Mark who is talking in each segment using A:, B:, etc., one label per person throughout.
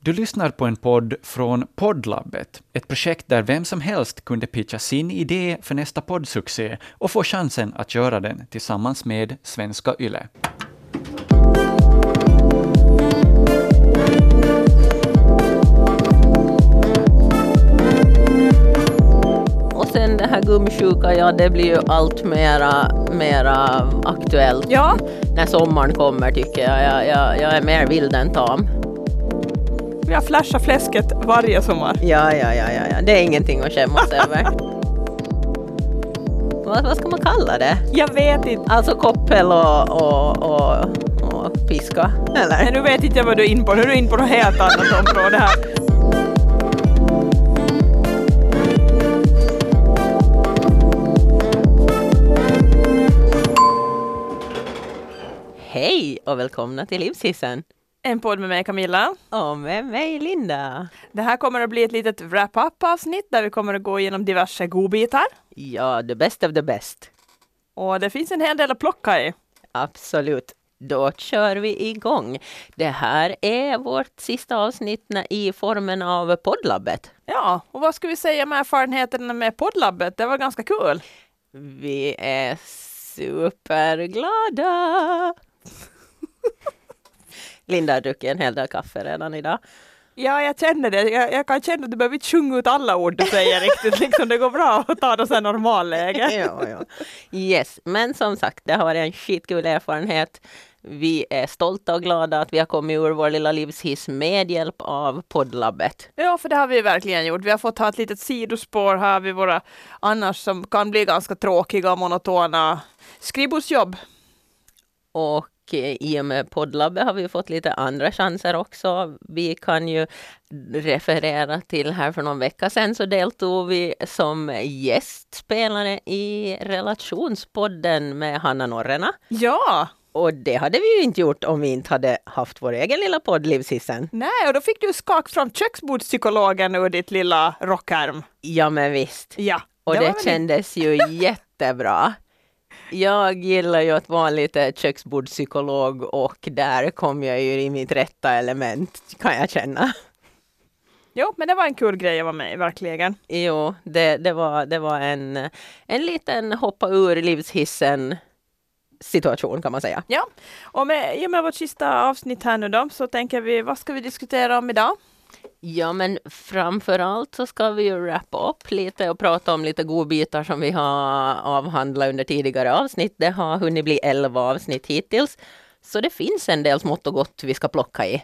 A: Du lyssnar på en podd från Poddlabbet, ett projekt där vem som helst kunde pitcha sin idé för nästa poddsuccé och få chansen att göra den tillsammans med Svenska Yle.
B: Och sen det här gummisjuka, ja det blir ju allt mera, mera aktuellt
C: Ja,
B: när sommaren kommer tycker jag. Jag, jag, jag är mer vild än tam.
C: jag flashar fläsket varje sommar.
B: Ja, ja, ja, ja, ja. det är ingenting att skämmas över. Vad, vad ska man kalla det?
C: Jag vet inte.
B: Alltså koppel och, och, och, och piska,
C: Men
B: eller?
C: nu vet inte jag vad du är in på. Nu är du in på något helt annat område här.
B: Hej och välkomna till Livshissen!
C: En podd med mig Camilla.
B: Och med mig Linda.
C: Det här kommer att bli ett litet wrap-up avsnitt där vi kommer att gå igenom diverse godbitar.
B: Ja, the best of the best.
C: Och det finns en hel del att plocka i.
B: Absolut. Då kör vi igång. Det här är vårt sista avsnitt när- i formen av poddlabbet.
C: Ja, och vad ska vi säga med erfarenheterna med poddlabbet? Det var ganska kul.
B: Vi är superglada! Linda har druckit en hel del kaffe redan idag.
C: Ja, jag känner det. Jag, jag kan känna att du behöver inte sjunga ut alla ord du säger riktigt. Liksom, det går bra att ta det så här normalläge.
B: ja, ja. Yes, men som sagt, det har varit en skitkul erfarenhet. Vi är stolta och glada att vi har kommit ur vår lilla livshiss med hjälp av poddlabbet.
C: Ja, för det har vi verkligen gjort. Vi har fått ha ett litet sidospår här vid våra annars som kan bli ganska tråkiga och monotona skrivbordsjobb.
B: Och eh, i och med poddlabbet har vi fått lite andra chanser också. Vi kan ju referera till här för någon vecka sedan så deltog vi som gästspelare i relationspodden med Hanna Norrena.
C: Ja,
B: Och det hade vi ju inte gjort om vi inte hade haft vår egen lilla podd Livshissen.
C: nej, och då fick du skak fram köksbordspsykologen ur ditt lilla rockärm.
B: Ja men visst.
C: Ja,
B: Och det,
C: var väl
B: kändes ju jättebra. Jag gillar ju att vara lite köksbordspsykolog och där kom jag ju i mitt rätta element kan jag känna.
C: Jo, men det var en kul grej att vara med i, verkligen.
B: Jo, det, det var, det var en, en liten hoppa ur livshissen situation kan man säga.
C: Ja, och med, i och med vårt sista avsnitt här nu då, så tänker vi, vad ska vi diskutera om idag?
B: Ja, men framför allt så ska vi ju wrappa upp lite och prata om lite godbitar som vi har avhandlat under tidigare avsnitt. Det har hunnit bli elva avsnitt hittills, så det finns en del smått och gott vi ska plocka i.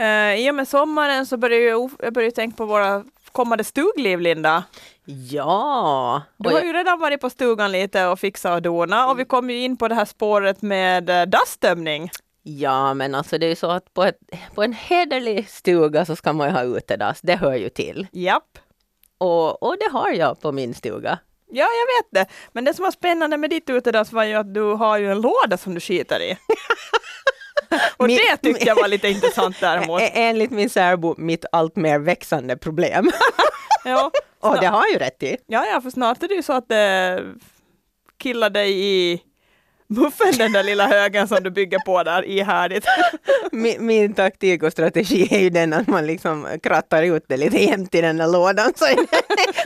C: Uh, I och med sommaren så börjar jag, jag börjar ju tänka på våra kommande stugliv, Linda.
B: Ja!
C: Du
B: och
C: har
B: jag- Mm.
C: ju redan varit på stugan lite och fixat och donat och vi kom ju in på det här spåret med eh, dasstömning.
B: Ja, men alltså det är ju så att på, ett, på en hederlig stuga så ska man ju ha utedass, det hör ju till.
C: Japp.
B: Och, och det har jag på min stuga.
C: Ja, jag vet det. Men det som var spännande med ditt utedass var ju att du har ju en låda som du skiter i. och
B: Min- Eh,
C: det tyckte jag var lite intressant däremot.
B: Ä- Enligt min särbo, mitt allt mer växande problem.
C: Ja,
B: och det har jag ju rätt i.
C: ja, ja, för snart är det ju så att det killar dig i muffen, den där lilla högen som du bygger på där ihärdigt.
B: Min, min taktik och strategi är ju den att man liksom krattar ut det lite jämnt i den där lådan. Så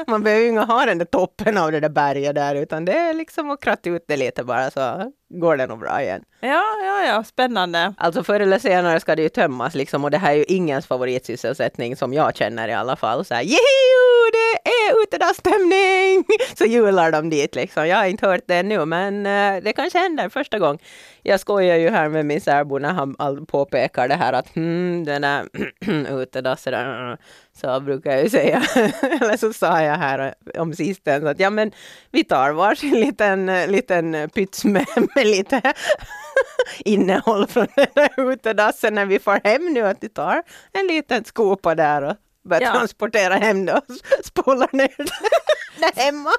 B: man behöver ju inte ha den där toppen av det där berget där, utan det är liksom att kratta ut det lite bara så går det nog bra igen.
C: Ja, ja, ja, spännande.
B: Alltså förr eller senare ska det ju tömmas liksom och det här är ju ingens favoritsysselsättning som jag känner i alla fall. Så här, "Jehojo, det är utedasstömning! Så jular de dit liksom. Jag har inte hört det ännu men eh, det kanske händer första gången. Jag skojar ju här med min särbo när han all- påpekar det här att hmm, den där utedassen där, så brukar jag ju säga. eller så sa jag här om sistens att ja men vi tar varsin liten, liten pyts med, med lite innehåll från den där utedassen när vi får hem nu, att vi tar en liten skopa där och börjar
C: Ja.
B: transportera hem det och s- spolar ner det där hemma.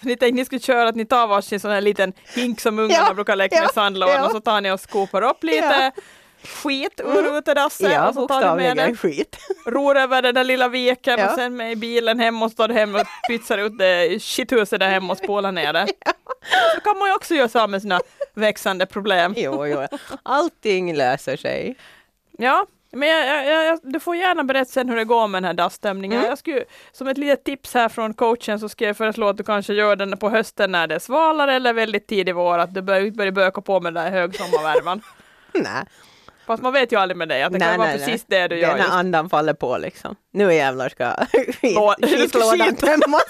C: Ni tänkte ni skulle köra att ni tar varsin sån här liten hink som ungarna
B: Ja,
C: brukar leka med i
B: ja,
C: sandlådan
B: ja.
C: och så tar ni och skopar upp lite. skit ur utedassen
B: Mm. Ja,
C: och så tar du
B: bokstavligen
C: med det,
B: skit.
C: ror över den där lilla viken
B: Ja.
C: och sen med i bilen hem och står hem och pytsar ut det i skithuset där hemma och spolar ner det. Så kan man ju också göra sig av med sina växande problem.
B: Jo, jo. Allting löser sig.
C: Ja, men jag, jag, jag- jag, du får gärna berätta sen hur det går med den här dassstämningen.
B: Mm.
C: Jag skulle, som ett litet tips här från coachen så ska jag föreslå att du kanske gör den på hösten när det är svalare eller väldigt tidig vår, att du börjar, börjar böka på med den där högsommarvärmen.
B: Nej,
C: Fast man vet ju aldrig med dig att det kan vara precis det du
B: Det
C: gör.
B: är när
C: Just.
B: andan faller på liksom. Nu jävlar ska
C: Lå- du ska
B: skitlådan
C: skit.
B: tömmas.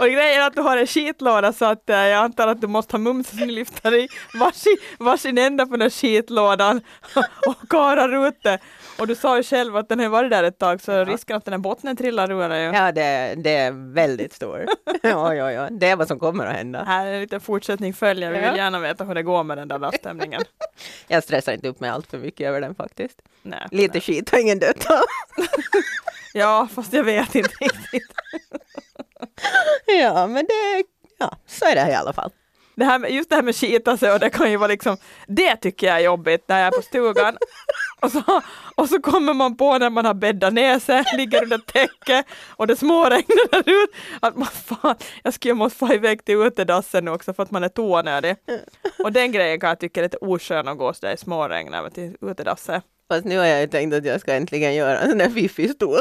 C: Och grejen är att du har en skitlåda så att eh, jag antar att du måste ha mumsen i lyftar i varsin, varsin ända på den här skitlådan och karar ut det. Och du sa ju själv att den har ju varit där ett tag så risken att den här bottnen trillar ur den är ju.
B: Ja, det, det är väldigt stor. Ja, ja, ja. Det är vad som kommer att hända.
C: Här är en liten fortsättning följer. Vi
B: Ja.
C: vill gärna veta hur det går med den där laststämningen.
B: Jag stressar inte upp mig allt för mycket över den faktiskt.
C: Nej,
B: Lite
C: nej.
B: skit har ingen dött av.
C: Ja, fast jag vet inte riktigt.
B: Ja, men det, ja, så är det här i alla fall.
C: Det här med, just det här med skita sig och det kan ju vara liksom, det tycker jag är jobbigt när jag är på stugan. Och så, och så kommer man på när man har bäddat ner sig, ligger under täcket och det småregnar där ut att man fan, jag skulle måste få iväg till utedassen nu också för att man är tånödig. Och den grejen kan jag tycka är lite oskön att gå sådär i småregn över till utedassen.
B: Fast nu har jag ju tänkt att jag ska äntligen göra en sån där fiffig stol.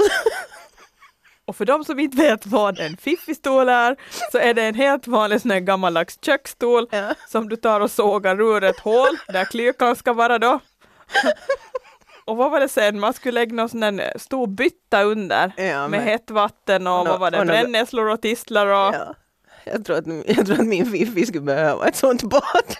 C: Och för de som inte vet vad en fiffistol är, så är det en helt vanlig sån här gammaldags köksstol
B: Ja.
C: som du tar och sågar ur ett hål där klykan ska vara då. Och vad var det sen, man skulle lägga någon sån där stor bytta under
B: Ja,
C: med
B: men-
C: hett vatten och
B: Nå-
C: vad var det,
B: och några-
C: brännässlor och tistlar och
B: Ja. Jag, tror att, jag tror att min fiffi skulle behöva ett sånt bad.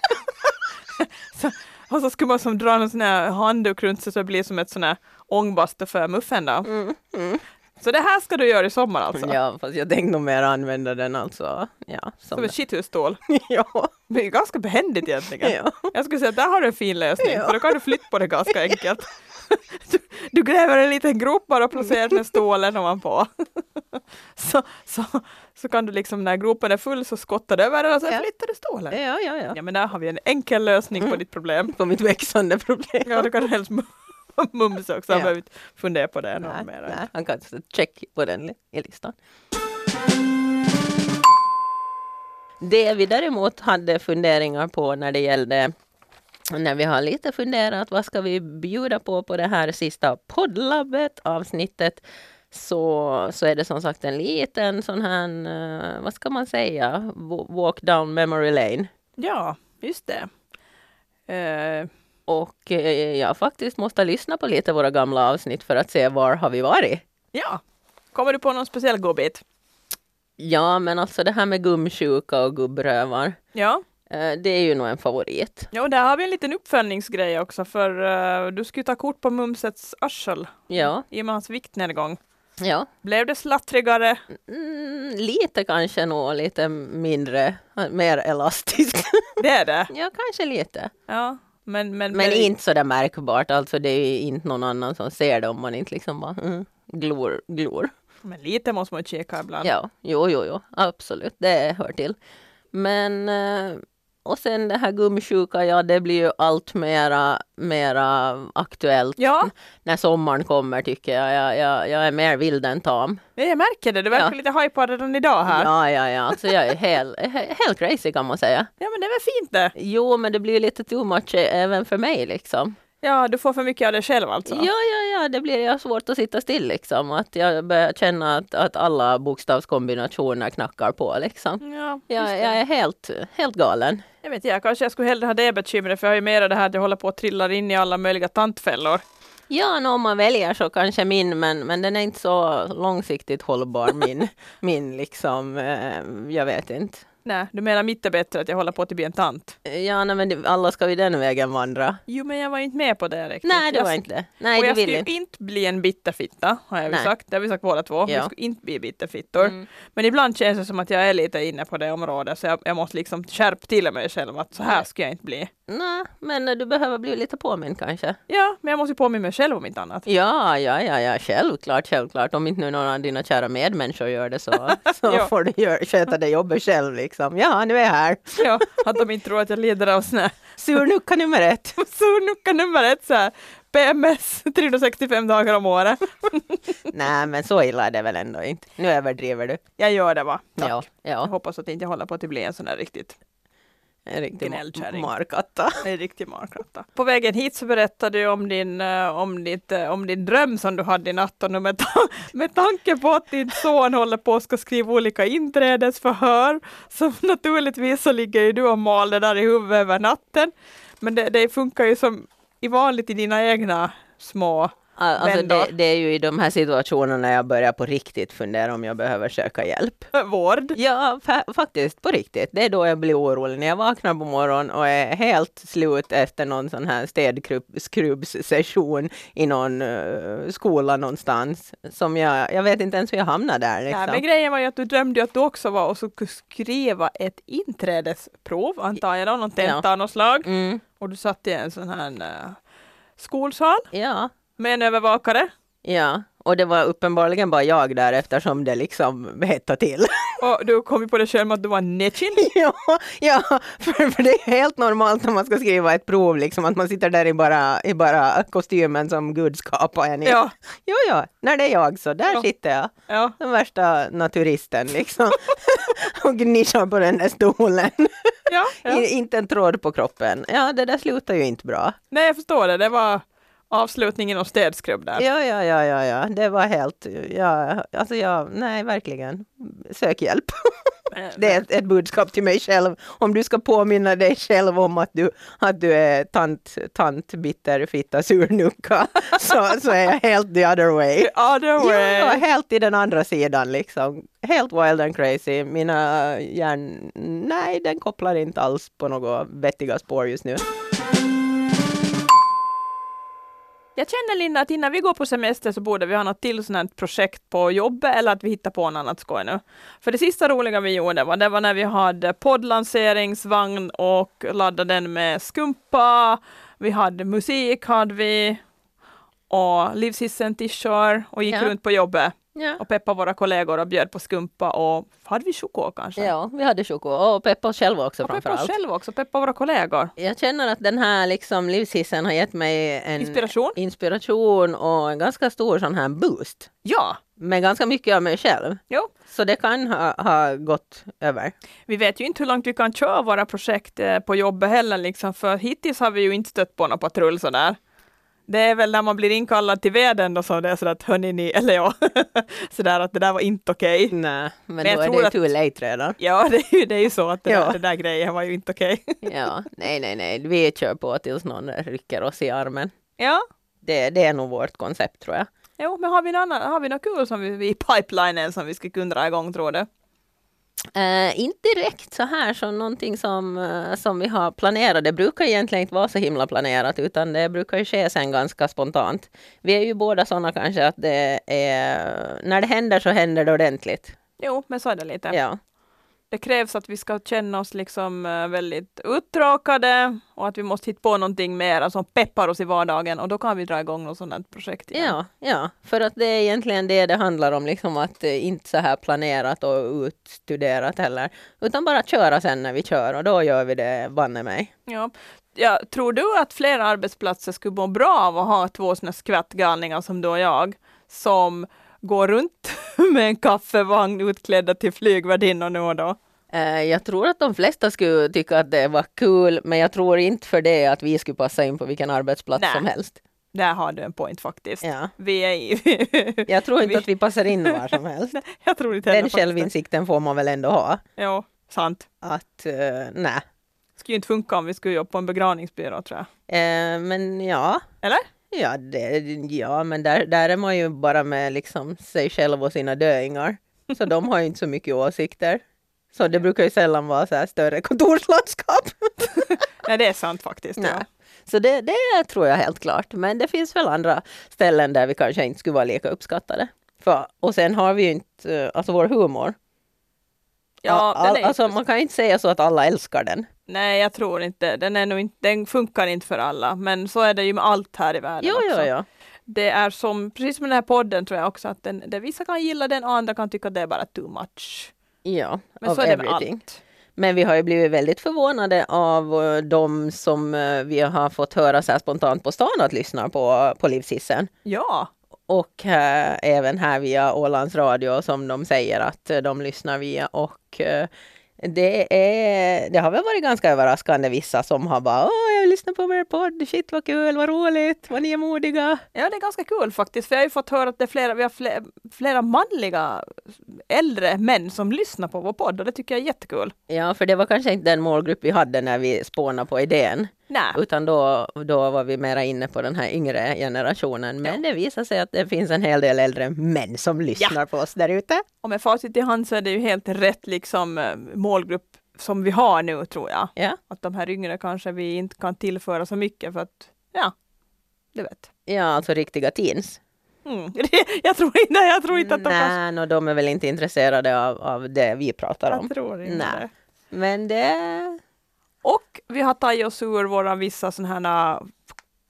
C: Och så skulle man som dra en sån här handduk runt sig så det blir som ett sån här ångbastu för muffen då. mm. Så det här ska du göra i sommar alltså?
B: Mm. Ja, fast jag tänkte nog mer använda den alltså. Ja,
C: Som
B: som
C: en skithusstol.
B: ja,
C: Det är ju ganska behändigt egentligen.
B: ja.
C: Jag skulle säga att där har du en fin lösning,
B: Ja.
C: för då kan du flytta på det ganska enkelt. Du, du gräver en liten grop bara och placerar den här stålen ovanpå. Så, så, så kan du liksom när gropen är full så skottar du över den och sen
B: Ja.
C: flyttar du
B: Ja, Mm.
C: stålen.
B: ja, ja.
C: Ja men där har vi en enkel lösning på ditt problem.
B: På mitt växande problem.
C: Ja du kan helst mu- mumsa också, jag
B: Ja.
C: behöver inte fundera på det någon
B: Nej,
C: mer.
B: nej, han kan sätta check på den li- i listan. Det vi däremot hade funderingar på när det gällde när vi har lite funderat vad ska vi bjuda på på det här sista poddlabbet avsnittet så, så är det som sagt en liten sån här, eh, vad ska man säga, wa- walk down memory lane.
C: Ja, just det. Eh,
B: Och eh, jag faktiskt måste lyssna på lite våra gamla avsnitt för att se var har vi varit.
C: ja, kommer du på någon speciell godbit?
B: Ja, men alltså det här med gumsjuka och gubbrövar.
C: Ja.
B: eh, Det är ju nog en favorit.
C: Ja, och där har vi en liten uppföljningsgrej också, för eh, du skulle ta kort på Mumsets arsel
B: Ja,
C: i och med hans viktnedgång.
B: ja.
C: Blev det slattrigare?
B: Mm, lite kanske nog lite mindre, eh, mer elastisk.
C: Det är det.
B: ja, kanske lite.
C: Ja, men, men,
B: Men inte så där märkbart, alltså det är ju inte någon annan som ser det om man inte liksom bara mm, glor, glor.
C: men lite måste man ju kika ibland.
B: Ja, jo, jo, jo, absolut, det hör till. Men eh, och sen det här gumsjuka, ja det blir ju allt mera, mera aktuellt
C: Ja,
B: när sommaren kommer tycker jag. Jag, jag, jag är mer vild än tam.
C: jag märker det. Du verkar
B: Ja.
C: lite hajpad redan idag här. Ja.
B: Ja, ja, ja. Alltså jag är helt hel crazy kan man säga.
C: men det är väl fint det.
B: Jo, men det blir ju lite too much eh, även för mig liksom.
C: Ja, du får för mycket av dig själv alltså.
B: Ja, ja, ja, det blir jag svårt att sitta still liksom. Att jag börjar känna att, att alla bokstavskombinationer knackar på liksom.
C: Ja, just
B: Jag,
C: det.
B: jag är helt, helt galen.
C: Jag vet jag kanske jag skulle hellre ha det bekymret för jag har ju mera det här att jag håller på att trilla in i alla möjliga tantfällor.
B: Ja, nå, om man väljer så kanske min, men, men den är inte så långsiktigt hållbar min, min liksom, eh, jag vet inte.
C: Nej, du menar mitt är bättre att jag håller på att bli en tant?
B: Ja, nej, men det- alla ska ju den vägen vandra.
C: Jo, men jag var ju inte med på det riktigt.
B: Nej, det
C: Jag
B: var inte det. Nej,
C: och
B: det
C: jag
B: vill
C: skulle
B: inte.
C: ju inte bli en bitterfitta, har jag ju
B: Nej.
C: sagt. Det har vi sagt båda två. Vi
B: Ja.
C: skulle inte bli bitterfittor. Men ibland känns det som att jag är lite inne på det området, så jag, jag måste liksom skärpa till mig själv att så här ska jag inte bli.
B: Nej, men eh, du behöver bli lite påmind kanske.
C: Ja, men jag måste ju påminna mig själv om inte annat.
B: Ja, ja, ja, ja, självklart, självklart. Om inte nu någon av dina kära medmänniskor gör det så, så
C: Ja.
B: får du gör, sköta det jobbet själv liksom. Ja, nu är jag här.
C: Ja, att de inte tror att jag lider av sån här
B: Surnucka nummer ett.
C: surnucka nummer ett så här. PMS 365 dagar om året.
B: Nej, men så illa är det väl ändå inte. Nu överdriver du.
C: Jag gör det va. Tack.
B: Ja,
C: Jag
B: ja.
C: hoppas att jag inte håller på att det blir en sån här riktigt
B: En riktig
C: Gnällkärring.
B: markatta.
C: En riktig marklatta. På vägen hit så berättade du om din, eh, om ditt, eh, om din dröm som du hade i natt och nu med, ta- med tanke på att din son håller på och ska skriva olika inträdesförhör så naturligtvis så ligger ju du och mal det där i huvudet över natten. Men det, det funkar ju som i vanligt i dina egna små
B: Al- Alltså
C: Men då?
B: det, det är ju i de här situationerna jag börjar på riktigt fundera om jag behöver söka hjälp.
C: eh, vård.
B: Ja, fa- faktiskt på riktigt. Det är då jag blir orolig när jag vaknar på morgonen och är helt slut efter någon sån här städskrubbssession i någon eh, skola någonstans. Som jag, jag vet inte ens hur jag hamnar där.
C: Nej,
B: Liksom.
C: men grejen var ju att du drömde ju att du också var och så skulle skriva ett inträdesprov, antar jag, då, någon tenta av något slag.
B: mm,
C: Och du satt i en sån här eh, skolsal
B: ja,
C: med en övervakare.
B: ja. Och det var uppenbarligen bara jag där eftersom det liksom hettade till.
C: Och du kom ju på det själv att du var Nechin.
B: Ja, ja för, för det är helt normalt när man ska skriva ett prov, liksom, att man sitter där i bara, i bara kostymen som Gud skapade en i.
C: Ja,
B: Jo, ja, när det är jag så, där
C: Ja.
B: sitter jag.
C: ja.
B: Den värsta naturisten liksom. och gnischar på den där stolen.
C: ja, ja.
B: I, inte en tråd på kroppen. Ja, det där slutar ju inte bra.
C: Nej, jag förstår det. Det var avslutningen och städskrubb där.
B: Ja, ja, ja, ja, ja. det var helt, ja, alltså jag, nej, verkligen. Sök hjälp.
C: Eh,
B: Det är ett, ett budskap till mig själv. Om du ska påminna dig själv om att du, att du är tant, tant bitter, fitta, surnucka, så, så är jag helt the other way.
C: The other
B: Ja,
C: way.
B: helt i den andra sidan liksom. Helt wild and crazy. Mina hjärn... Nej, den kopplar inte alls på några vettiga spår just nu.
C: Jag känner Linda att innan vi går på semester så borde vi ha något till sånt här projekt på jobbet eller att vi hittar på något annat skoj nu. För det sista roliga vi gjorde var, det var när vi hade poddlanseringsvagn och laddade den med skumpa. Vi hade musik hade vi och livshissen t-shirt och gick
B: Ja.
C: runt på jobbet.
B: Ja.
C: och peppa våra kollegor och bjöd på skumpa och hade vi choklad kanske?
B: ja, vi hade Choco och Peppa oss själva också
C: och peppa oss
B: framförallt.
C: själva också, peppa våra kollegor.
B: Jag känner att den här liksom livshissen har gett mig en
C: Inspiration?
B: inspiration och en ganska stor sån här boost.
C: Ja,
B: Men ganska mycket av mig själv.
C: jo.
B: Så det kan ha, ha gått över.
C: Vi vet ju inte hur långt vi kan köra våra projekt eh, på jobbet heller liksom, för hittills har vi ju inte stött på någon patrull sådär. Det är väl när man blir inkallad till veden då som det är sådär att hörni ni, eller jag, sådär att det där var inte okej.
B: Nej, men,
C: jag
B: då är det
C: tror
B: ju
C: att-
B: too late redan.
C: Ja, det är ju, det är ju så att det,
B: Ja.
C: där, det där grejen var ju inte okej.
B: Ja, nej, nej, nej, vi kör på tills någon rycker oss i armen.
C: ja,
B: Det, det är nog vårt koncept tror jag.
C: jo, men har vi något annat- har vi något kul som vi, vi i pipelinen som vi skulle kunna dra igång tror du?
B: Eh, inte direkt så här som någonting som, eh, som vi har planerat. Det brukar egentligen inte vara så himla planerat utan det brukar ju ske sen ganska spontant. Vi är ju båda sådana kanske att det är, när det händer så händer det ordentligt.
C: Jo, men så är det lite.
B: Ja,
C: Det krävs att vi ska känna oss liksom eh, väldigt uttråkade och att vi måste hitta på någonting mer som peppar oss i vardagen och då kan vi dra igång något sådant här projekt igen.
B: ja, ja. för att det är egentligen det det handlar om, liksom att eh, inte så här planerat och utstuderat heller, utan bara köra sen när vi kör och då gör vi det banne mig.
C: Ja. Ja, tror du att fler arbetsplatser skulle må bra av att ha två såna skvattgalningar som du och jag som går runt med en kaffevagn utklädda till flygvärdinnor nu och då?
B: Eh, Jag tror att de flesta skulle tycka att det var kul, men jag tror inte för det att vi skulle passa in på vilken arbetsplats
C: Nej.
B: som helst.
C: Där har du en point faktiskt.
B: Ja.
C: Vi är i...
B: Jag tror inte
C: Vi-
B: att vi passar in var som helst.
C: Jag tror inte
B: Den
C: heller faktiskt.
B: självinsikten får man väl ändå ha,
C: Ja, sant.
B: att eh, nej.
C: Skulle ju inte funka om vi skulle jobba på en begravningsbyrå tror jag.
B: Eh, men ja,
C: Eller?
B: ja, det, ja men där, där är man ju bara med liksom sig själv och sina döingar. Så de har ju inte så mycket åsikter. Så det brukar ju sällan vara så här större kontorslandskap.
C: Nej, det är sant faktiskt. Ja.
B: Nej. Så det, det tror jag helt klart. Men det finns väl andra ställen där vi kanske inte skulle vara lika uppskattade. För, och sen har vi ju inte, eh, alltså vår humor.
C: Ja,
B: All-
C: den är
B: alltså,
C: inte-
B: man kan inte säga så att alla älskar den.
C: Nej, jag tror inte. Den, är nog inte. den funkar inte för alla, men så är det ju med allt här i världen
B: Jo, jo,
C: också.
B: jo.
C: Det är som, precis som den här podden tror jag också, att den, det, vissa kan gilla den, andra kan tycka att det är bara too much.
B: Ja,
C: Men
B: of
C: så är det med
B: everything.
C: allt.
B: Men vi har ju blivit väldigt förvånade av eh, de som eh, vi har fått höra så här spontant på stan att lyssna på, på Livshissen.
C: Ja,
B: Och eh, även här via Ålands Radio som de säger att eh, de lyssnar via. Och eh, det, är, det har väl varit ganska överraskande vissa som har bara Åh, jag lyssnar på er podd, shit vad kul, vad roligt, vad ni är modiga.
C: ja, det är ganska kul faktiskt, för jag har ju fått höra att det är flera, vi har flera, flera manliga äldre män som lyssnar på vår podd och det tycker jag är jättekul.
B: Ja, för det var kanske inte den målgrupp vi hade när vi spånade på idén.
C: Nej,
B: Utan då, då var vi mera inne på den här yngre generationen. Men det visar sig att det finns en hel del äldre män som lyssnar på oss där ute.
C: och med facit i hand så är det ju helt rätt liksom eh, målgrupp som vi har nu tror jag.
B: Ja.
C: Att de här yngre kanske vi inte kan tillföra så mycket för att, ja, du vet.
B: ja, alltså riktiga teens.
C: Mm. jag tror inte, jag tror inte att de kan
B: Nej, och de är väl inte intresserade av, av det vi pratar om.
C: Jag tror inte
B: Nej.
C: det.
B: Men det...
C: Och vi har tagit oss ur våra vissa sådana här,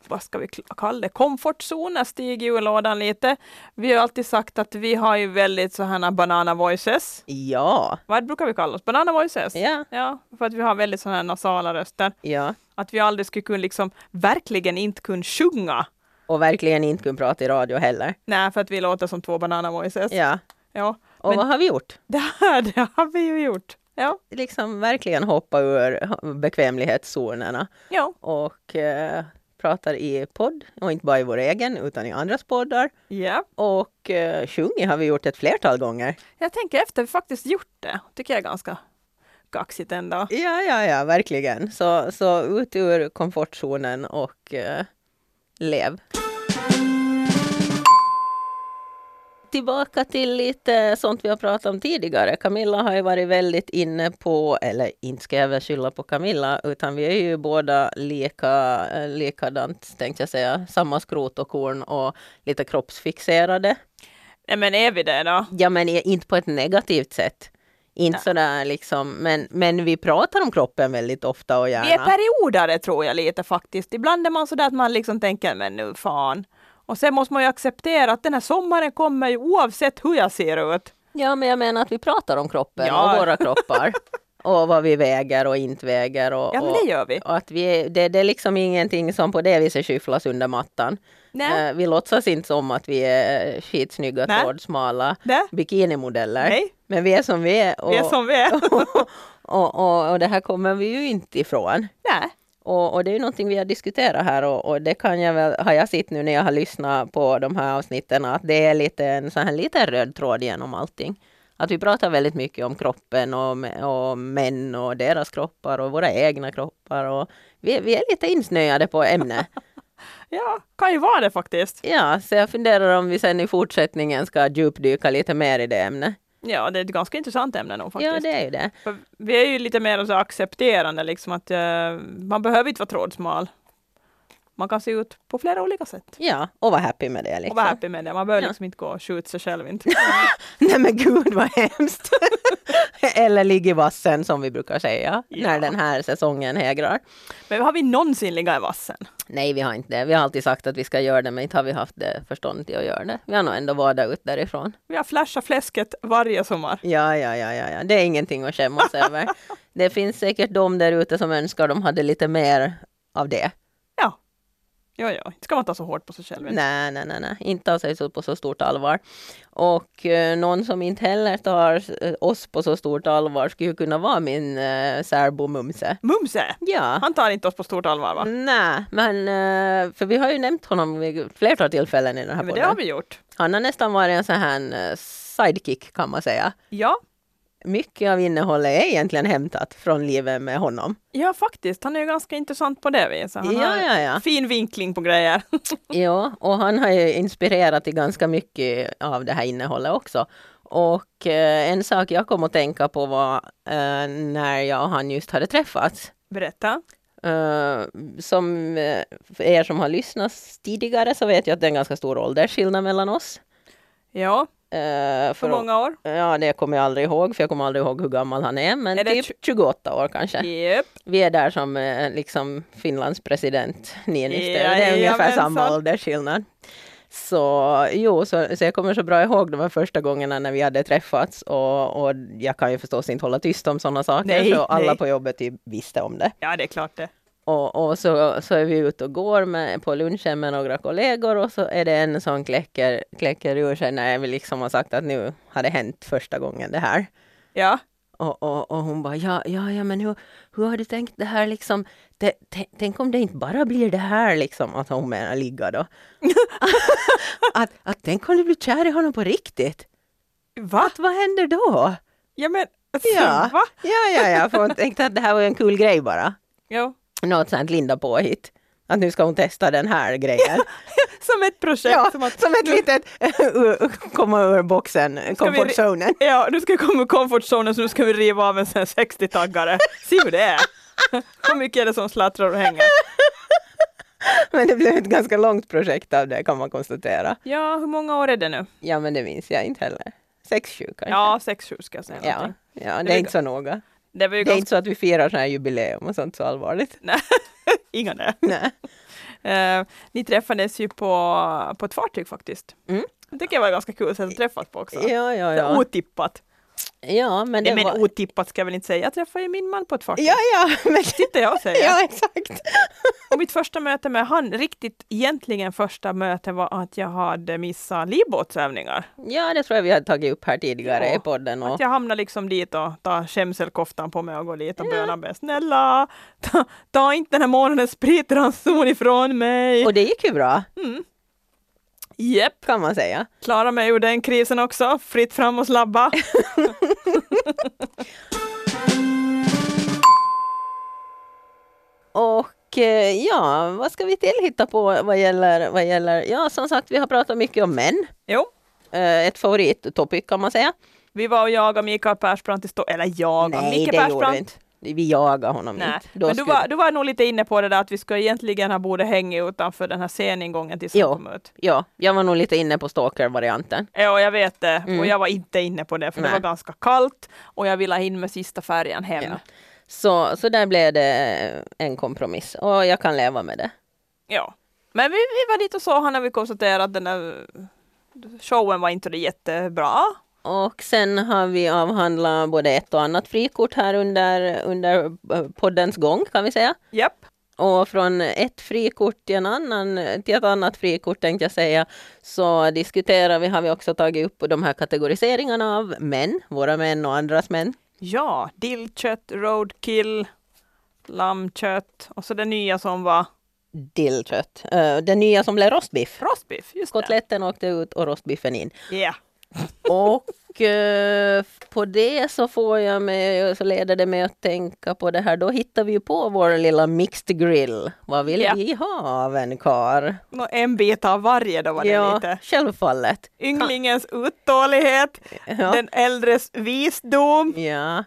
C: vad ska vi kl- kalla det, komfortzoner, stig ur lådan lite. Vi har ju alltid sagt att vi har ju väldigt sådana banana voices.
B: Ja,
C: Vad brukar vi kalla oss? Banana voices?
B: ja,
C: Ja, för att vi har väldigt sådana här nasala röster.
B: ja.
C: Att vi aldrig skulle kunna liksom, verkligen inte kunna sjunga.
B: Och verkligen inte kunna prata i radio heller.
C: Nej, för att vi låter som två banana voices.
B: Ja.
C: Ja,
B: Och
C: Alltså, Men-
B: vad har vi gjort?
C: det här, det har vi ju gjort. Ja,
B: Liksom verkligen hoppa ur bekvämlighetszonerna.
C: ja,
B: och eh, pratar i podd och inte bara i vår egen utan i andras poddar.
C: ja.
B: Och eh, sjungit har vi gjort ett flertal gånger.
C: Jag tänker efter, vi har faktiskt gjort det. Tycker jag är ganska kaxigt ändå.
B: Ja, ja, ja, verkligen. Så, så ut ur komfortzonen och eh, lev. Tillbaka till lite sånt vi har pratat om tidigare. Camilla har ju varit väldigt inne på, eller inte ska jag väl skylla på Camilla, utan vi är ju båda lika, eh, likadant tänkte jag säga, samma skrot och korn och lite kroppsfixerade.
C: Nej men är vi det då?
B: Ja, men i- inte på ett negativt sätt. Inte
C: Nej.
B: sådär liksom, men, men vi pratar om kroppen väldigt ofta och
C: Vi är
B: gärna.
C: periodare tror jag lite faktiskt. Ibland är man sådär att man liksom tänker men nu fan. Och sen måste man ju acceptera att den här sommaren kommer ju oavsett hur jag ser ut.
B: Ja, men jag menar att vi pratar om kroppen
C: Ja.
B: och våra kroppar. och vad vi väger och inte väger. Och,
C: Ja men
B: och,
C: det gör vi.
B: och att vi är, det, det är liksom ingenting som på det viset skyfflas under mattan.
C: Nej.
B: Eh, Vi låtsas inte som att vi är eh, skitsnygga,
C: Nej.
B: trådsmala
C: Nej.
B: bikinimodeller.
C: Nej.
B: Men vi är som vi är. Och,
C: Vi är som vi är.
B: och, och, och det här kommer vi ju inte ifrån.
C: Nej.
B: Och, och det är ju någonting vi har diskuterat här och, och det kan jag väl, har jag sett nu när jag har lyssnat på de här avsnitten, att det är lite en sån här liten röd tråd genom allting. Att vi pratar väldigt mycket om kroppen och, om- och män och deras kroppar och våra egna kroppar och vi, vi är lite insnöade på ämnet.
C: Ja, kan ju vara det faktiskt.
B: Ja, så jag funderar om vi sen i fortsättningen ska djupdyka lite mer i det ämnet.
C: Ja, det är ett ganska intressant ämne nog faktiskt.
B: Ja, det är ju det.
C: För vi är ju lite mer så accepterande liksom att eh, man behöver inte vara trådsmal. Man kan se ut på flera olika sätt.
B: Ja, och var happy med det
C: Och
B: liksom.
C: vara happy med det. Man behöver
B: Ja.
C: liksom inte gå och skjuta sig själv inte.
B: Nej men gud vad hemskt! Eller ligg i vassen som vi brukar säga
C: Ja.
B: när den här säsongen hägrar.
C: Men har vi någonsin legat i vassen?
B: Nej, vi har inte det. Vi har alltid sagt att vi ska göra det, men inte har vi haft det förstånd till att göra det. Vi har nog ändå varit ut därifrån.
C: Vi har flashat fläsket varje sommar.
B: Ja, ja, ja, ja, ja. det är ingenting att skämmas över. Det finns säkert de där ute som önskar de hade lite mer av det.
C: Ja. Ja, ja, inte ska man ta så hårt på sig själv. inte?
B: Nej, nej, nej, nej. inte ta sig så på så stort allvar. Och eh, någon som inte heller tar eh, oss på så stort allvar skulle ju kunna vara min eh, särbo Mumse.
C: Mumse!
B: Ja.
C: Han tar inte oss på stort allvar va?
B: Nej, men eh, för vi har ju nämnt honom vid flertal tillfällen i den här
C: Men det
B: podden.
C: har vi gjort.
B: Han har nästan varit en sån här eh, sidekick kan man säga.
C: Ja,
B: Mycket av innehållet är egentligen hämtat från livet med honom.
C: ja faktiskt. Han är ju ganska intressant på det viset. Han
B: Ja,
C: har
B: ja, ja.
C: fin vinkling på grejer.
B: Ja, och han har ju inspirerat till ganska mycket av det här innehållet också. Och eh, en sak jag kom att tänka på var eh, när jag och han just hade träffats.
C: Berätta.
B: Eh, som eh, för er som har lyssnat tidigare så vet jag att det är en ganska stor åldersskillnad mellan oss.
C: Ja,
B: Eh,
C: För
B: för
C: många år?
B: Ja, det kommer jag aldrig ihåg, för jag kommer aldrig ihåg hur gammal han är, men
C: Är det tju-
B: typ 28 år kanske.
C: Japp.
B: Vi är där som eh, liksom Finlands president Niinistö,
C: Ja,
B: det är ungefär
C: jajamensan.
B: samma åldersskillnad. Så jo, så, så jag kommer så bra ihåg de här första gångerna när vi hade träffats och, och jag kan ju förstås inte hålla tyst om sådana saker,
C: Nej,
B: så alla
C: nej.
B: på jobbet typ visste om det.
C: Ja, det är klart det.
B: Och, och så, så är vi ute och går med, på lunchen med några kollegor och så är det en som kläcker, kläcker ur sig när vi liksom har sagt att nu har det hänt första gången det här.
C: Ja.
B: Och, och, och hon bara, ja, ja, ja, men hur, hur har du tänkt det här liksom? Tä- tä- tänk om det inte bara blir det här liksom, att hon menar ligga då. att, att tänk om du blir kär i honom på riktigt?
C: Va?
B: Att, vad händer då?
C: Ja, men alltså,
B: Ja.
C: va?
B: Ja, ja, ja, för hon tänkte att det här var ju en kul grej bara.
C: Jo.
B: Något sånt Linda påhitt. Att nu ska hon testa den här grejen.
C: Som ett projekt.
B: ja,
C: som att,
B: som ett litet ur- komma ur boxen,
C: Ska vi-
B: komfortzonen.
C: Ja, nu ska vi komma ur comfort zone så nu ska vi riva av en sån här 60-taggare. Se hur det är. Hur mycket är det som slattrar och hänger?
B: Men det blev ett ganska långt projekt av det kan man konstatera.
C: Ja, hur många år är det nu?
B: Ja, men det minns jag inte heller. Sex, sju kanske.
C: Ja, sex, sju ska jag säga
B: ja,
C: någonting.
B: ja, det
C: Det
B: är
C: är
B: inte så noga.
C: Det var ju
B: Det är
C: ganska...
B: inte så att vi firar sådana här jubileum och sånt så allvarligt.
C: Nej, inga det.
B: Nej.
C: Eh, ni träffades ju på, på ett fartyg faktiskt.
B: Mm.
C: Det tycker jag var ganska kul sätt att träffas på också.
B: Ja, ja,
C: Så
B: ja.
C: Otippat.
B: Ja, men det
C: Nej, men
B: var...
C: otippat ska jag väl inte säga. Jag träffade ju min man på ett fartyg.
B: Ja, ja, men...
C: Sitter jag och säger.
B: Ja, exakt.
C: Och mitt första möte med han, riktigt egentligen första möte var att jag hade missat livbåtsövningar.
B: Ja, det tror jag vi hade tagit upp här tidigare
C: Ja,
B: i podden. Och...
C: Att jag hamnar liksom dit och tar skämselkoftan på mig och går dit och bönar ber snälla, ta, ta inte den här månadens spritranson ifrån mig.
B: och det gick ju bra,
C: Jep,
B: kan man säga.
C: klara mig ur den krisen också. Fritt fram och slabba.
B: Och eh, ja, vad ska vi till hitta på vad gäller, vad gäller... Ja, som sagt, vi har pratat mycket om män.
C: Jo,
B: Eh, Ett favorittopic kan man säga.
C: vi var och jagade Mikael Persbrandt i Stå... Eller jagade,
B: Nej,
C: Micke
B: det gjorde vi
C: Persbrandt.
B: inte. Vi jagar honom
C: Nej,
B: inte. Då
C: men du
B: skulle-
C: var, du var nog lite inne på det där att vi ska egentligen ha borde hänga utanför den här sceningången tills han
B: Jo.
C: kom ut.
B: Ja, jag var nog lite inne på stalker-varianten.
C: Ja, jag vet det.
B: Mm.
C: Eh, Och jag var inte inne på det, för
B: Nej.
C: det var ganska kallt och jag ville ha in med sista färjan hem.
B: Ja.
C: Ja.
B: Så, så där blev det en kompromiss och jag kan leva med det.
C: Men vi, vi var dit och såg honom och vi konstaterade att den där showen var inte det jättebra.
B: Och sen har vi avhandlat både ett och annat frikort här under, under eh, poddens gång kan vi säga.
C: Japp.
B: Och från ett frikort till, en annan, till ett annat frikort tänkte jag säga, så diskuterar vi, har vi också tagit upp de här kategoriseringarna av män, våra män och andras män.
C: Ja, dillkött, roadkill, lammkött och så det nya som var
B: Dillkött. Eh, Det nya som blev rostbiff.
C: rostbiff. Just
B: Kotletten åkte ut och rostbiffen in.
C: det. Yeah.
B: Och eh, på det så får jag mig, så leder det mig att tänka på det här. Då hittar vi ju på vår lilla mixed grill. Vad vill
C: Ja.
B: vi ha av en kar?
C: Nå, En bit av varje då var det lite.
B: självfallet.
C: Ynglingens uthållighet,
B: Ja.
C: den äldres visdom
B: ja.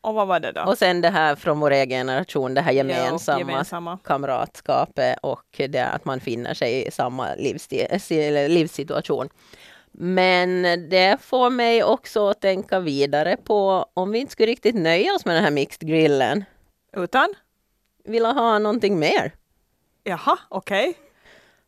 C: och vad var det då?
B: Och sen det här från vår egen generation, det här gemensamma,
C: Ja, gemensamma.
B: kamratskapet och det att man finner sig i samma livsstil, eller livssituation. Men det får mig också att tänka vidare på om vi inte skulle riktigt nöja oss med den här mixed grillen.
C: Utan?
B: vill ha någonting mer.
C: Jaha, okej.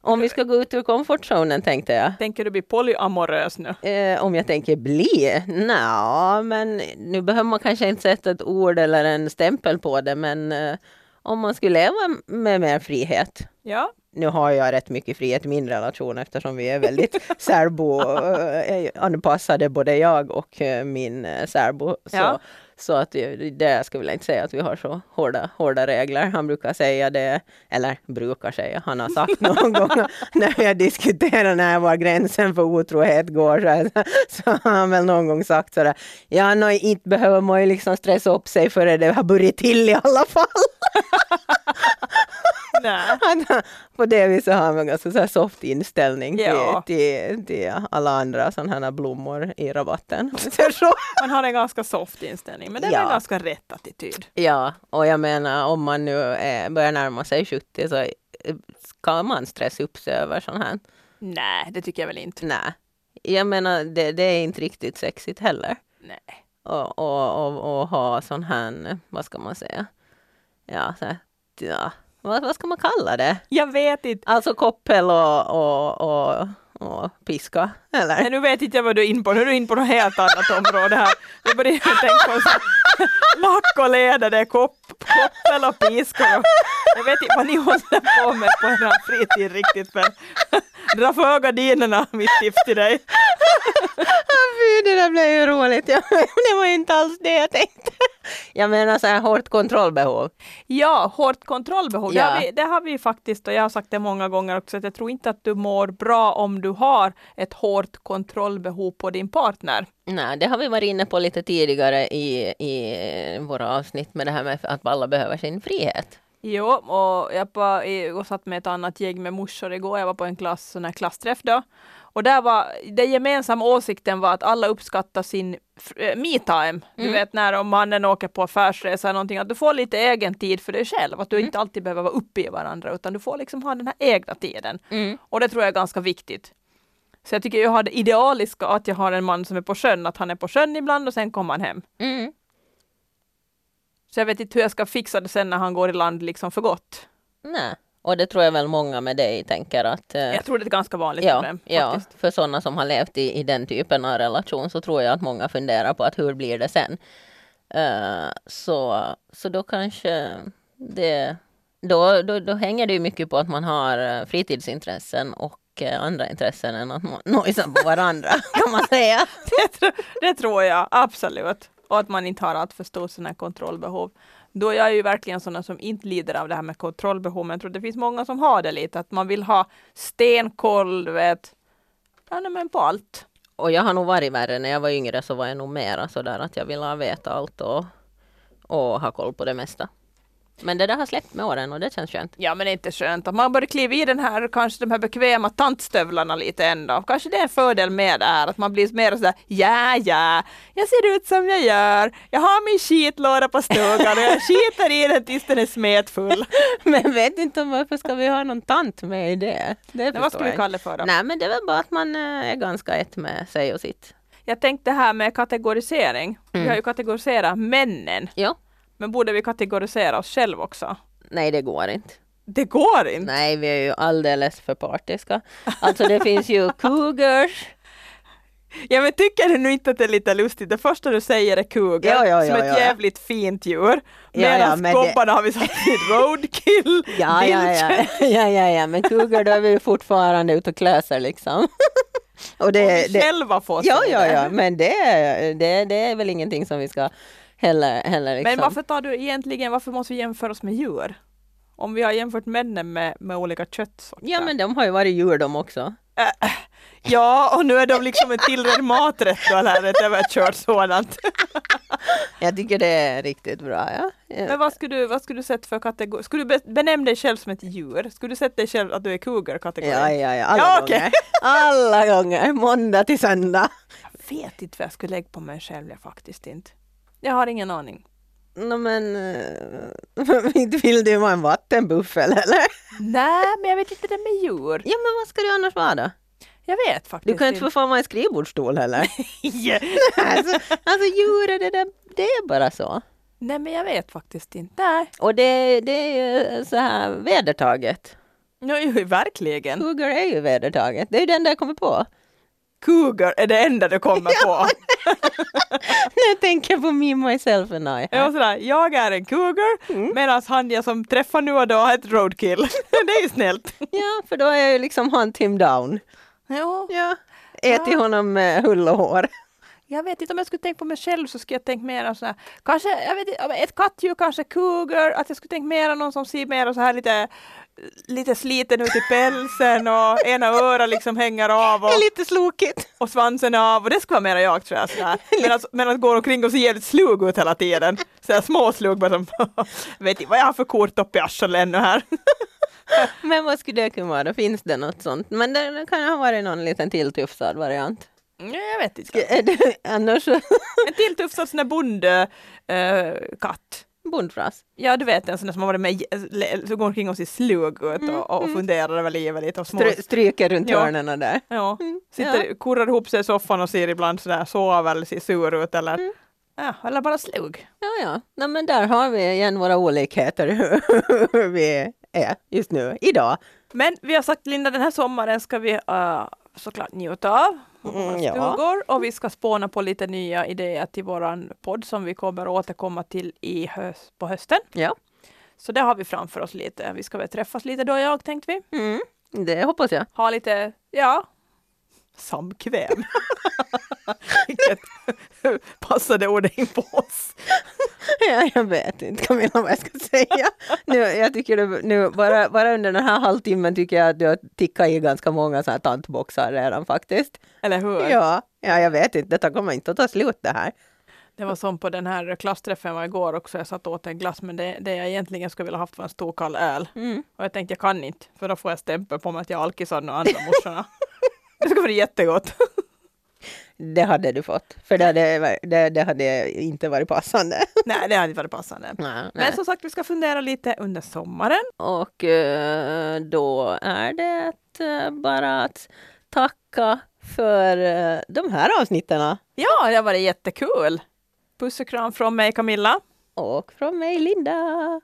B: Om vi ska gå ut ur komfortzonen tänkte jag.
C: Tänker du bli polyamorös nu?
B: Eh, om jag tänker bli? Nja, men nu behöver man kanske inte sätta ett ord eller en stämpel på det, men eh, om man skulle leva med mer frihet.
C: Ja,
B: Nu har jag rätt mycket frihet i min relation eftersom vi är väldigt särbo-anpassade, både jag och eh, min eh, särbo. Så,
C: Ja.
B: så att eh, det, det skulle jag inte säga att vi har så hårda, hårda regler. Han brukar säga det, eller brukar säga, han har sagt någon gång när vi har diskuterat när var gränsen för otrohet går, så, här, så har han väl någon gång sagt sådär, ja, nå, inte behöver man ju liksom stressa upp sig förrän det har börjat till i alla fall.
C: nej.
B: Han, på det viset har han en ganska så här soft inställning till,
C: Ja.
B: till, till alla andra sådana här blommor i rabatten. om vi säger så.
C: Man har en ganska soft inställning, men det är
B: Ja.
C: en ganska rätt attityd.
B: ja, och jag menar om man nu eh, börjar närma sig 70 så eh, ska man stressa upp sig över sånt här?
C: Nej, det tycker jag väl inte.
B: Nej. Jag menar, det, det är inte riktigt sexigt heller.
C: Nej.
B: Och, och, och, och ha sån här, vad ska man säga? Ja, så här, ja. Vad, vad ska man kalla det?
C: Jag vet inte.
B: Alltså koppel och, och, och, och piska, eller?
C: Nej, nu vet inte jag vad du är in på, nu är du in på något helt annat område här. Nu börjar jag tänka på så lack och leder, det är kopp, koppel och piskor. och- Jag vet inte vad ni håller på med på er fritid riktigt men dra för gardinerna, mitt tips till dig.
B: Fy, det där blev ju roligt. Jag, det var ju inte alls det jag tänkte. Jag menar så här hårt kontrollbehov.
C: Ja, hårt kontrollbehov. Det,
B: Ja.
C: har vi, det har vi faktiskt och jag har sagt det många gånger också att jag tror inte att du mår bra om du har ett hårt kontrollbehov på din partner.
B: Nej, det har vi varit inne på lite tidigare i, i våra avsnitt med det här med att alla behöver sin frihet.
C: Jo, och jag var i- och satt med ett annat gäng med morsor igår. Jag var på en klass, sån här klassträff då. Och där var, den gemensamma åsikten var att alla uppskattar sin fr- eh, me-time. Du vet när om mannen åker på affärsresa eller någonting, att du får lite egen tid för dig själv. Att du inte alltid behöver vara uppe i varandra, utan du får liksom ha den här egna tiden. Och det tror jag är ganska viktigt. Så jag tycker jag har det idealiska att jag har en man som är på sjön, att han är på sjön ibland och sen kommer han hem.
B: Mm.
C: Så jag vet inte hur jag ska fixa det sen när han går i land liksom för gott.
B: Nej, och det tror jag väl många med dig tänker att... eh,
C: Jag tror det är ett ganska vanligt
B: ja,
C: problem.
B: ja,
C: faktiskt.
B: för sådana som har levt i, i den typen av relation så tror jag att många funderar på att hur blir det sen? Eh, så, så då kanske det... Då, då, då hänger det ju mycket på att man har eh, fritidsintressen och eh, andra intressen än att man nojsar på varandra, kan man säga.
C: Det, tro- det tror jag absolut. Och att man inte har allt för stort sån här kontrollbehov. Då är jag ju verkligen sådana som inte lider av det här med kontrollbehov. Men jag tror det finns många som har det lite. Att man vill ha stenkoll, du vet. Ja, nej, men på allt.
B: Och jag har nog varit värre. När jag var yngre så var jag nog mera sådär att jag ville veta allt och, och ha koll på det mesta. Men det där har släppt med åren och det känns skönt.
C: Ja, men det är inte skönt att man börjar kliva i den här, kanske de här bekväma tantstövlarna lite ändå. Kanske det är en fördel med det här, att man blir mer sådär, ja, ja, jag ser ut som jag gör, jag har min skitlåda på stugan och jag skiter i den tills den är smetfull.
B: Men vet inte om varför ska vi ha någon tant med i det? det
C: Nej, vad ska vi kalla det för då?
B: Nej men det är väl bara att man eh, är ganska ett med sig och sitt.
C: Jag tänkte här med kategorisering. Vi
B: Mm.
C: har ju kategoriserat männen,
B: Ja.
C: men borde vi kategorisera oss själva också?
B: Nej det går inte.
C: Det går inte!
B: Nej vi är ju alldeles för partiska. Alltså det finns ju cougars.
C: Ja men tycker du nu inte att det är lite lustigt? Det första du säger är cougar,
B: Ja, ja,
C: som
B: ja,
C: ett
B: ja, ja.
C: jävligt fint djur.
B: Ja, ja,
C: Medan
B: men det-
C: gobbarna har vi satt i roadkill,
B: Ja ja ja.
C: viltkött.
B: ja ja ja men cougar då är vi ju fortfarande ute och klöser liksom. och det,
C: Vi själva får
B: Ja,
C: säga
B: ja,
C: det.
B: ja, men det, det, det är väl ingenting som vi ska heller, heller liksom.
C: Men varför tar du egentligen, varför måste vi jämföra oss med djur? Om vi har jämfört männen med, med olika köttsorter.
B: Ja, men de har ju varit djur de också.
C: ja, och nu är de liksom en tillrädd maträtt då, eller ett överkört sådant.
B: Jag tycker det är riktigt bra, ja.
C: Men vad skulle du, vad skulle du sätta för kategori? Skulle du be- benämna dig själv som ett djur? Skulle du sätta dig själv att du är cougar-kategorin?
B: Ja, ja, ja, alla
C: Ja, okej.
B: gånger. Alla gånger, måndag till söndag.
C: vet inte vad jag skulle lägga på mig själv, jag faktiskt inte. Jag har ingen aning.
B: Nå men, eh, inte vill du vara en vattenbuffel eller?
C: Nej, men jag vet inte det med djur.
B: Ja, men vad ska du annars vara då?
C: Jag vet faktiskt
B: Du kan ju inte för fan vara en skrivbordsstol heller.
C: inte.
B: alltså, alltså djur, är det, där, det är bara så.
C: Nej, men jag vet faktiskt inte. Nej,
B: Och det, det är ju så här vedertaget.
C: no, ju, verkligen.
B: Cougar är ju vedertaget. Det är ju den där jag kommer på.
C: Cougar är det enda du kommer på.
B: När jag tänker på me, myself and I.
C: Jag, var sådär, jag är en cougar, medan han jag som träffar nu och då är ett roadkill. det är ju snällt.
B: Ja, för då är jag ju liksom hunt him down.
C: Ja,
B: Ja. Ätit honom med hull och hår.
C: Jag vet inte om jag skulle tänka på mig själv så skulle jag tänka mer så här, kanske, jag vet inte, ja, men ett kattdjur, kanske cougar, att jag skulle tänka mer om någon som ser mer så här lite, lite sliten ut i pälsen och ena örat liksom hänger av och,
B: Det är lite slokigt.
C: och svansen är av och det skulle vara mer jag tror jag sådär. Medan, medan går omkring och ser jävligt slug ut hela tiden. Såhär småslug bara som, vet inte vad jag har för kortopp i arslet ännu här.
B: Men vad skulle det kunna vara? Då finns det något sånt. Men det det kan ju ha varit någon liten tilltufsad variant.
C: Nej, jag vet inte.
B: Är det annars så-
C: En till tufsad sån eh, där bondekatt.
B: bondfras?
C: Ja, du vet en sån där som har varit med, eh, så går
B: Mm,
C: omkring och ser slug ut och, och funderar över livet lite och små...
B: Stry- Stryker runt
C: Ja.
B: hörnen där.
C: Ja, Sitter,
B: Mm. Ja.
C: kurrar ihop sig i soffan och ser ibland sådär sov eller ser sur ut eller,
B: Mm.
C: ja, eller bara slug.
B: Ja, ja. Nej, men där har vi igen våra olikheter hur vi är just nu, idag.
C: Men vi har sagt Linda, den här sommaren ska vi eh, såklart njuta av
B: Mm, ja.
C: stugor och vi ska spåna på lite nya idéer till våran podd som vi kommer återkomma till i höst, på hösten.
B: Ja.
C: Så det har vi framför oss lite. Vi ska väl träffas lite då och jag tänkte vi.
B: Mm, det hoppas jag.
C: ha lite, ja, samkväm. Vilket passade ordet in på oss.
B: Ja, jag vet inte Camilla vad jag ska säga. Nu, jag tycker du, nu, bara, bara under den här halvtimmen tycker jag att du har tickat i ganska många sådana här tantboxar redan faktiskt.
C: Eller hur?
B: Ja, ja, jag vet inte, detta kommer inte att ta slut det här.
C: Det var som på den här klassträffen var igår också. Jag satt och åt en glass, men det, det jag egentligen skulle vilja haft var en stor kall öl. Och jag tänkte jag kan inte, för då får jag stämpel på mig att jag är alkis av de andra morsorna. Det skulle vara jättegott.
B: Det hade du fått, för det hade, det, det hade inte varit passande.
C: Nej, det hade inte varit passande.
B: Nej,
C: Men som sagt, vi ska fundera lite under sommaren.
B: Och eh, då är det eh, bara att tacka för eh, de här avsnitten.
C: Ja, det har varit jättekul. Puss och kram från mig Camilla.
B: Och från mig, Linda.